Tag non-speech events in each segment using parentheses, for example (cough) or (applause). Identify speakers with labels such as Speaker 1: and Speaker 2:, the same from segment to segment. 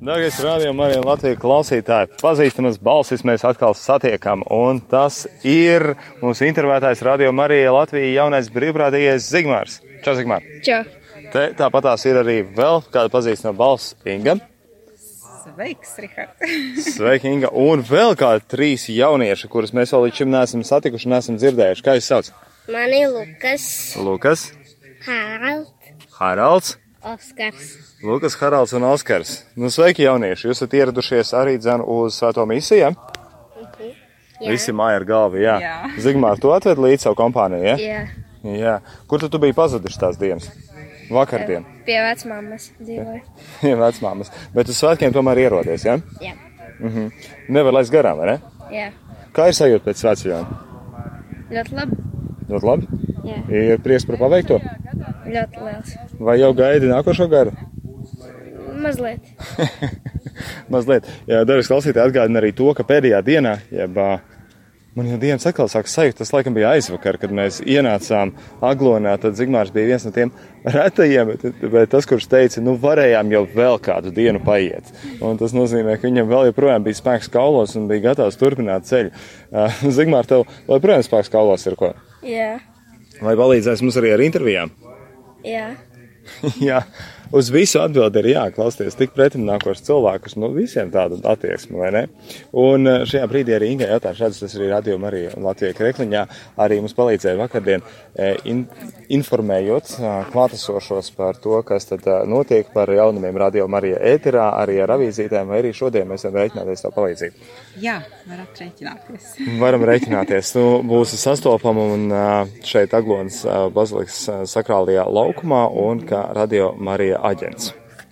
Speaker 1: Dargais rādījuma arī Latvijas klausītāji, pazīstamas balsis mēs atkal satiekam, un tas ir mūsu intervētājs rādījuma arī Latvijas jaunais brīvprātīgais Zigmārs. Čau, Zigmār!
Speaker 2: Čau.
Speaker 1: Te tāpatās ir arī vēl kāda pazīstama balss Inga.
Speaker 3: Sveiks, Rihard!
Speaker 1: Sveiki, Inga! Un vēl kādi trīs jaunieši, kurus mēs vēl līdz šim neesam satikuši, neesam dzirdējuši. Kā jūs sauc?
Speaker 4: Mani Lukas,
Speaker 1: Lukas,
Speaker 4: Haralds,
Speaker 1: Haralds.
Speaker 4: Oskars.
Speaker 1: Lukas, Haralds un Oskars. Nu, sveiki, jaunieši! Jūs esat ieradušies arī dzēnu uz svēto misiju. Ja?
Speaker 4: Jā.
Speaker 1: Visi māja ar galvu, jā. jā.
Speaker 3: Jā.
Speaker 1: Zigmār, tu atvedi līdzi savu kompāniju, jā?
Speaker 4: Jā,
Speaker 1: Jā. jā. Kur tad tu biji pazudis tās dienas? Vakardien,
Speaker 2: Pie vecmāmas dzīvoju.
Speaker 1: (laughs) jā, vecmāmas. Bet uz svētkiem tomēr ierodies, jā?
Speaker 4: jā,
Speaker 1: Nevar laist garām, vai ne?
Speaker 2: Jā,
Speaker 1: Kā ir sajūta pēc svētceļām?
Speaker 2: ļoti labi.
Speaker 1: Ļoti labi.
Speaker 4: jā,
Speaker 1: Ir prieks par paveikto?
Speaker 2: Ļoti liels.
Speaker 1: Vai jau gaidi nākošo garu?
Speaker 2: Mazliet.
Speaker 1: Mazliet. Jā, Dārvis klausītāji atgādina arī to, ka pēdējā dienā, jeb ā, man jau dienas atkal sāk sajūt, tas laikam bija aizvakar, kad mēs ienācām Aglonā, tad Zigmārs bija viens no tiem retajiem, bet tas, kurš teica, nu varējām jau vēl kādu dienu paiet. Un tas nozīmē, ka viņam vēl joprojām bija spēks kaulos un bija gatavs turpināt ceļu. Ā, Zigmār, tev joprojām spēks kaulos ir ko?
Speaker 2: Jā,
Speaker 1: Vai palīdzēs mums arī ar intervijām?
Speaker 2: jā.
Speaker 1: (laughs) jā. Uz visu atbildi ir jāklausties tik pretimnākos cilvēkus. Nu, visiem tāda attieksme, vai ne? Un eh, šajā brīdī arī Ingai jautāšu, šāds tas arī radījuma arī Latvijai Krekliņā. Arī mums palīdzēja vakardien eh, in, informējot eh, klātesošos par to, kas tad eh, notiek par jaunumiem radījuma arī ēterā, arī ar avīzītēm, vai arī šodien mēs varam rēķināties tā palīdzību
Speaker 3: (laughs) Jā, var aprēķināties. (laughs)
Speaker 1: varam rēķināties. Nu, būs sastopama un ā, šeit Aglonas ā, bazilikas ā, eh, sakrālajā laukumā un kā radio Marija aģents.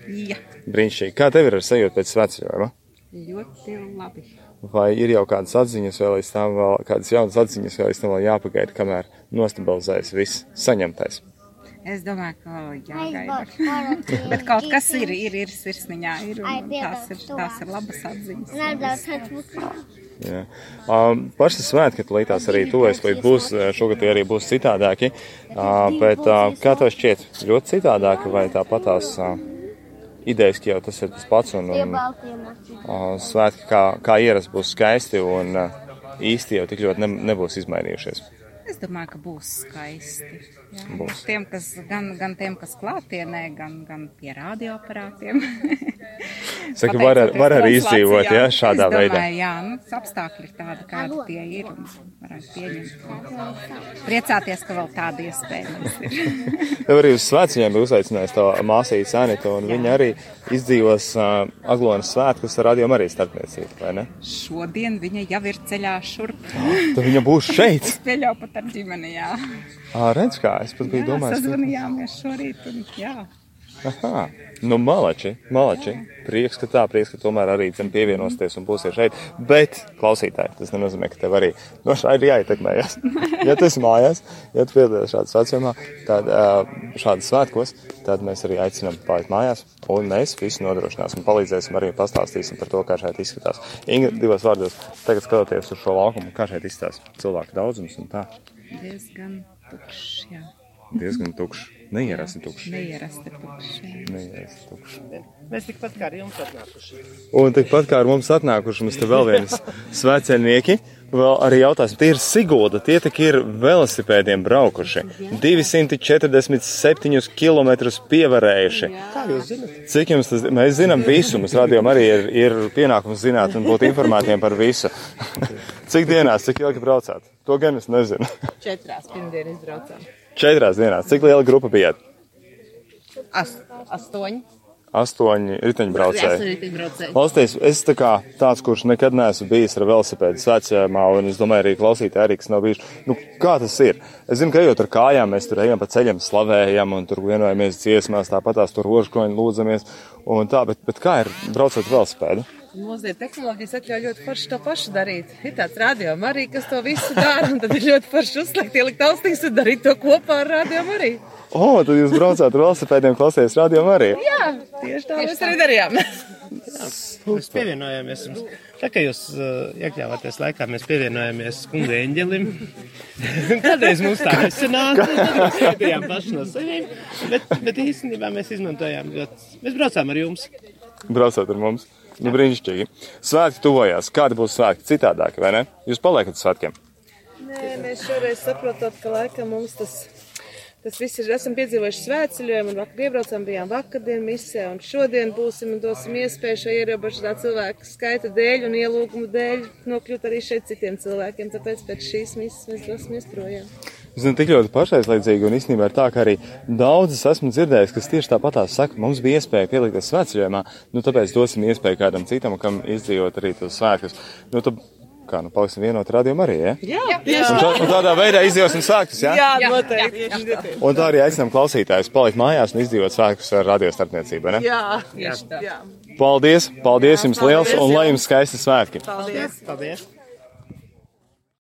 Speaker 3: Jā,
Speaker 1: Brīnišķīgi. Kā tev ir ar sajūtu pēc svētceļojuma?
Speaker 3: ļoti labi.
Speaker 1: Vai ir jau kādas atziņas, vai līdz tam vēl kādas jaunas atziņas, vai līdz tam vēl jāpagaida, kamēr nostabilizējas viss saņemtais?
Speaker 3: Es domāju, ka vēl jāgaida. (laughs) Bet
Speaker 4: Bet
Speaker 3: kaut kas ir, ir, ir sirsniņā, ir,
Speaker 4: Ai,
Speaker 3: un tās ir,
Speaker 4: piedalas
Speaker 3: tās ir
Speaker 4: tuvāk.
Speaker 3: labas atziņas.
Speaker 4: Nedaudz atpakaļ.
Speaker 1: Jā. Um, Pašas svētki, kad līdz tās arī tuvojas, vai būs ā, šogad tie arī būs citādāki. Uh, bet uh, kā tev šķiet, ļoti citādāki vai tāpat tās uh, idejas, ka jau tas ir tas pats un,
Speaker 4: Pie
Speaker 1: un
Speaker 4: baltiem acīm.
Speaker 1: uh, svētki kā, kā ierasts būs skaisti un uh, īsti jau tik ļoti ne, nebūs izmainījušies.
Speaker 3: Es domāju, ka būs skaisti. Jā.
Speaker 1: Būs.
Speaker 3: Tiem, kas, gan, gan tiem, kas klātienē, gan, gan pie radioaparātiem.
Speaker 1: (laughs) Saka, var ar- var arī izdzīvot, jā, šādā
Speaker 3: es domāju,
Speaker 1: veidā.
Speaker 3: Jā, nu, apstākļi ir tādi, kādi tie ir. un Varētu pieņemt. Priecāties, ka vēl tāda iespēja mums ir.
Speaker 1: Tev arī uz svētceļiem bija uzaicinājusi tā māsīca Anita, un viņa arī izdzīvos uh, Aglonas svētkus ar radio arī starpniecību, vai ne?
Speaker 3: Šodien viņa jau ir ceļā šurp.
Speaker 1: Tad viņa būs šeit!
Speaker 3: Pieļauju pat ar ģimeni, jā.
Speaker 1: Ā, redz kā, es pat biju
Speaker 3: jā
Speaker 1: domājis. ka-
Speaker 3: sazvanījāmies šorīt. Un, jā.
Speaker 1: Aha, nu, malači, malači. Prieks, ka tā, prieks, ka tomēr arī tam pievienosies un būsiet šeit. Bet, klausītāji, tas nenozīmē, ka tev arī no šā ir jāietekmējas. Ja tu esi mājās, ja tu piedalies šādas vecumā, tad ā, šādas svētkos, tad mēs arī aicinām palikt mājās un mēs visi nodrošināsim, palīdzēsim arī pastāstīsim par to, kā šeit izskatās. Inga, divos vārdos, tagad skatoties uz šo laukumu, kā šeit izskatās cilvēku daudzums un tā.
Speaker 3: Diezgan tukšs, jā.
Speaker 1: Diezgan tukšs, neierasti tukšs.
Speaker 3: Neierasti tukšs. jā.
Speaker 1: Neierasti tukšs.
Speaker 5: Mēs tikpat kā ar jums atnākuši.
Speaker 1: Un tikpat kā ar mums atnākuši, mums te vēl viens svētceļnieki. Vēl arī jautājums, tie ir Sigūda, tie tik ir velosipēdiem braukuši. 247 km pievarējuši.
Speaker 5: Kā jūs zinat?
Speaker 1: Cik jums tas, mēs zinām visu, mums radījumam arī ir, ir pienākums zināt un būt informētiem par visu. (laughs) Cik dienās, cik ilgi braucāt? To gan es nezinu. (laughs)
Speaker 6: Četrās pirmdienas izbraucām.
Speaker 1: Četrās dienās, cik liela grupa bijāt?
Speaker 6: Ast, astoņi.
Speaker 1: Astoņi riteņbraucēji.
Speaker 6: tik braucēji.
Speaker 1: Klausieties, es tā kā tāds, kurš nekad neesmu bijis ar velosipēdu svētceļā, un es domāju, arī klausītāji, arī, kas nav bijuši. Nu, kā tas ir? Es zinu, ka ejot ar kājām, mēs tur ejam pa ceļam, slavējam, un tur vienojamies dziesmās, tāpatās tur rožkroņi lūdzamies. Un tā, bet, bet kā ir braucot ar velosipēdu?
Speaker 6: Mūsdienu tehnoloģijas atļauj ļoti forši to pašu darīt. Ir tāds rādījums arī, kas to visu dara, un tad ir ļoti forši uzlikt, ielikt austiņas un darīt to kopā ar rādījumu arī.
Speaker 1: O, tad jūs braucāt ar velosipēdiem, klausieties radio arī.
Speaker 6: Jā, tieši tā mēs arī darījām.
Speaker 5: Mēs pievienojāmies jums. Tā kā jūs uh, iekļāvāties laikā, mēs pievienojāmies kungu eņģelim. (laughs) Kādreiz mums tā nesanāca. Mēs bijām paši no saviem. Bet, bet īstenībā mēs izmantojām ļoti. Mēs braucām ar jums.
Speaker 1: braucot ar mums. Nu, brīnišķīgi. Svētki tuvojās. Kādi būs svētki? Citādāk, vai ne? Jūs paliekat uz svētkiem.
Speaker 6: Nē, mēs šoreiz saprotam, ka laikam mums tas, tas viss ir. Esam piedzīvojuši svētceļojumu, un vakar iebraucām, bijām vakardien misē, un šodien būsim un dosim iespēju šo ierobežotā cilvēku skaita dēļ un ielūgumu dēļ nokļūt arī šeit citiem cilvēkiem. Tāpēc pēc šīs misijas mēs dosimies projām.
Speaker 1: Zinu, tik ļoti pašaizlaicīgi, un īstenībā ir tā, ka arī daudzas esmu dzirdējis, kas tieši tāpat saka, mums bija iespēja pielikties svētceļojumā, nu tāpēc dosim iespēju kādam citam, kam izdzīvot arī tos svētkus. Nu, tad, kā, nu, paliksim vienot radiom arī, ja?
Speaker 6: Jā, tieši
Speaker 1: Un, tā, un tādā veidā izdzīvosim svētkus, ja?
Speaker 6: Jā, noteikti. tieši tā.
Speaker 1: Un tā arī aicinām klausītājus palikt mājās un izdzīvot svētkus ar radiostarpniecību, ne?
Speaker 6: Jā, tieši tā. Jā,
Speaker 1: Paldies, paldies jums liels, un lai jums skaisti svētki!
Speaker 6: paldies.
Speaker 5: Paldies!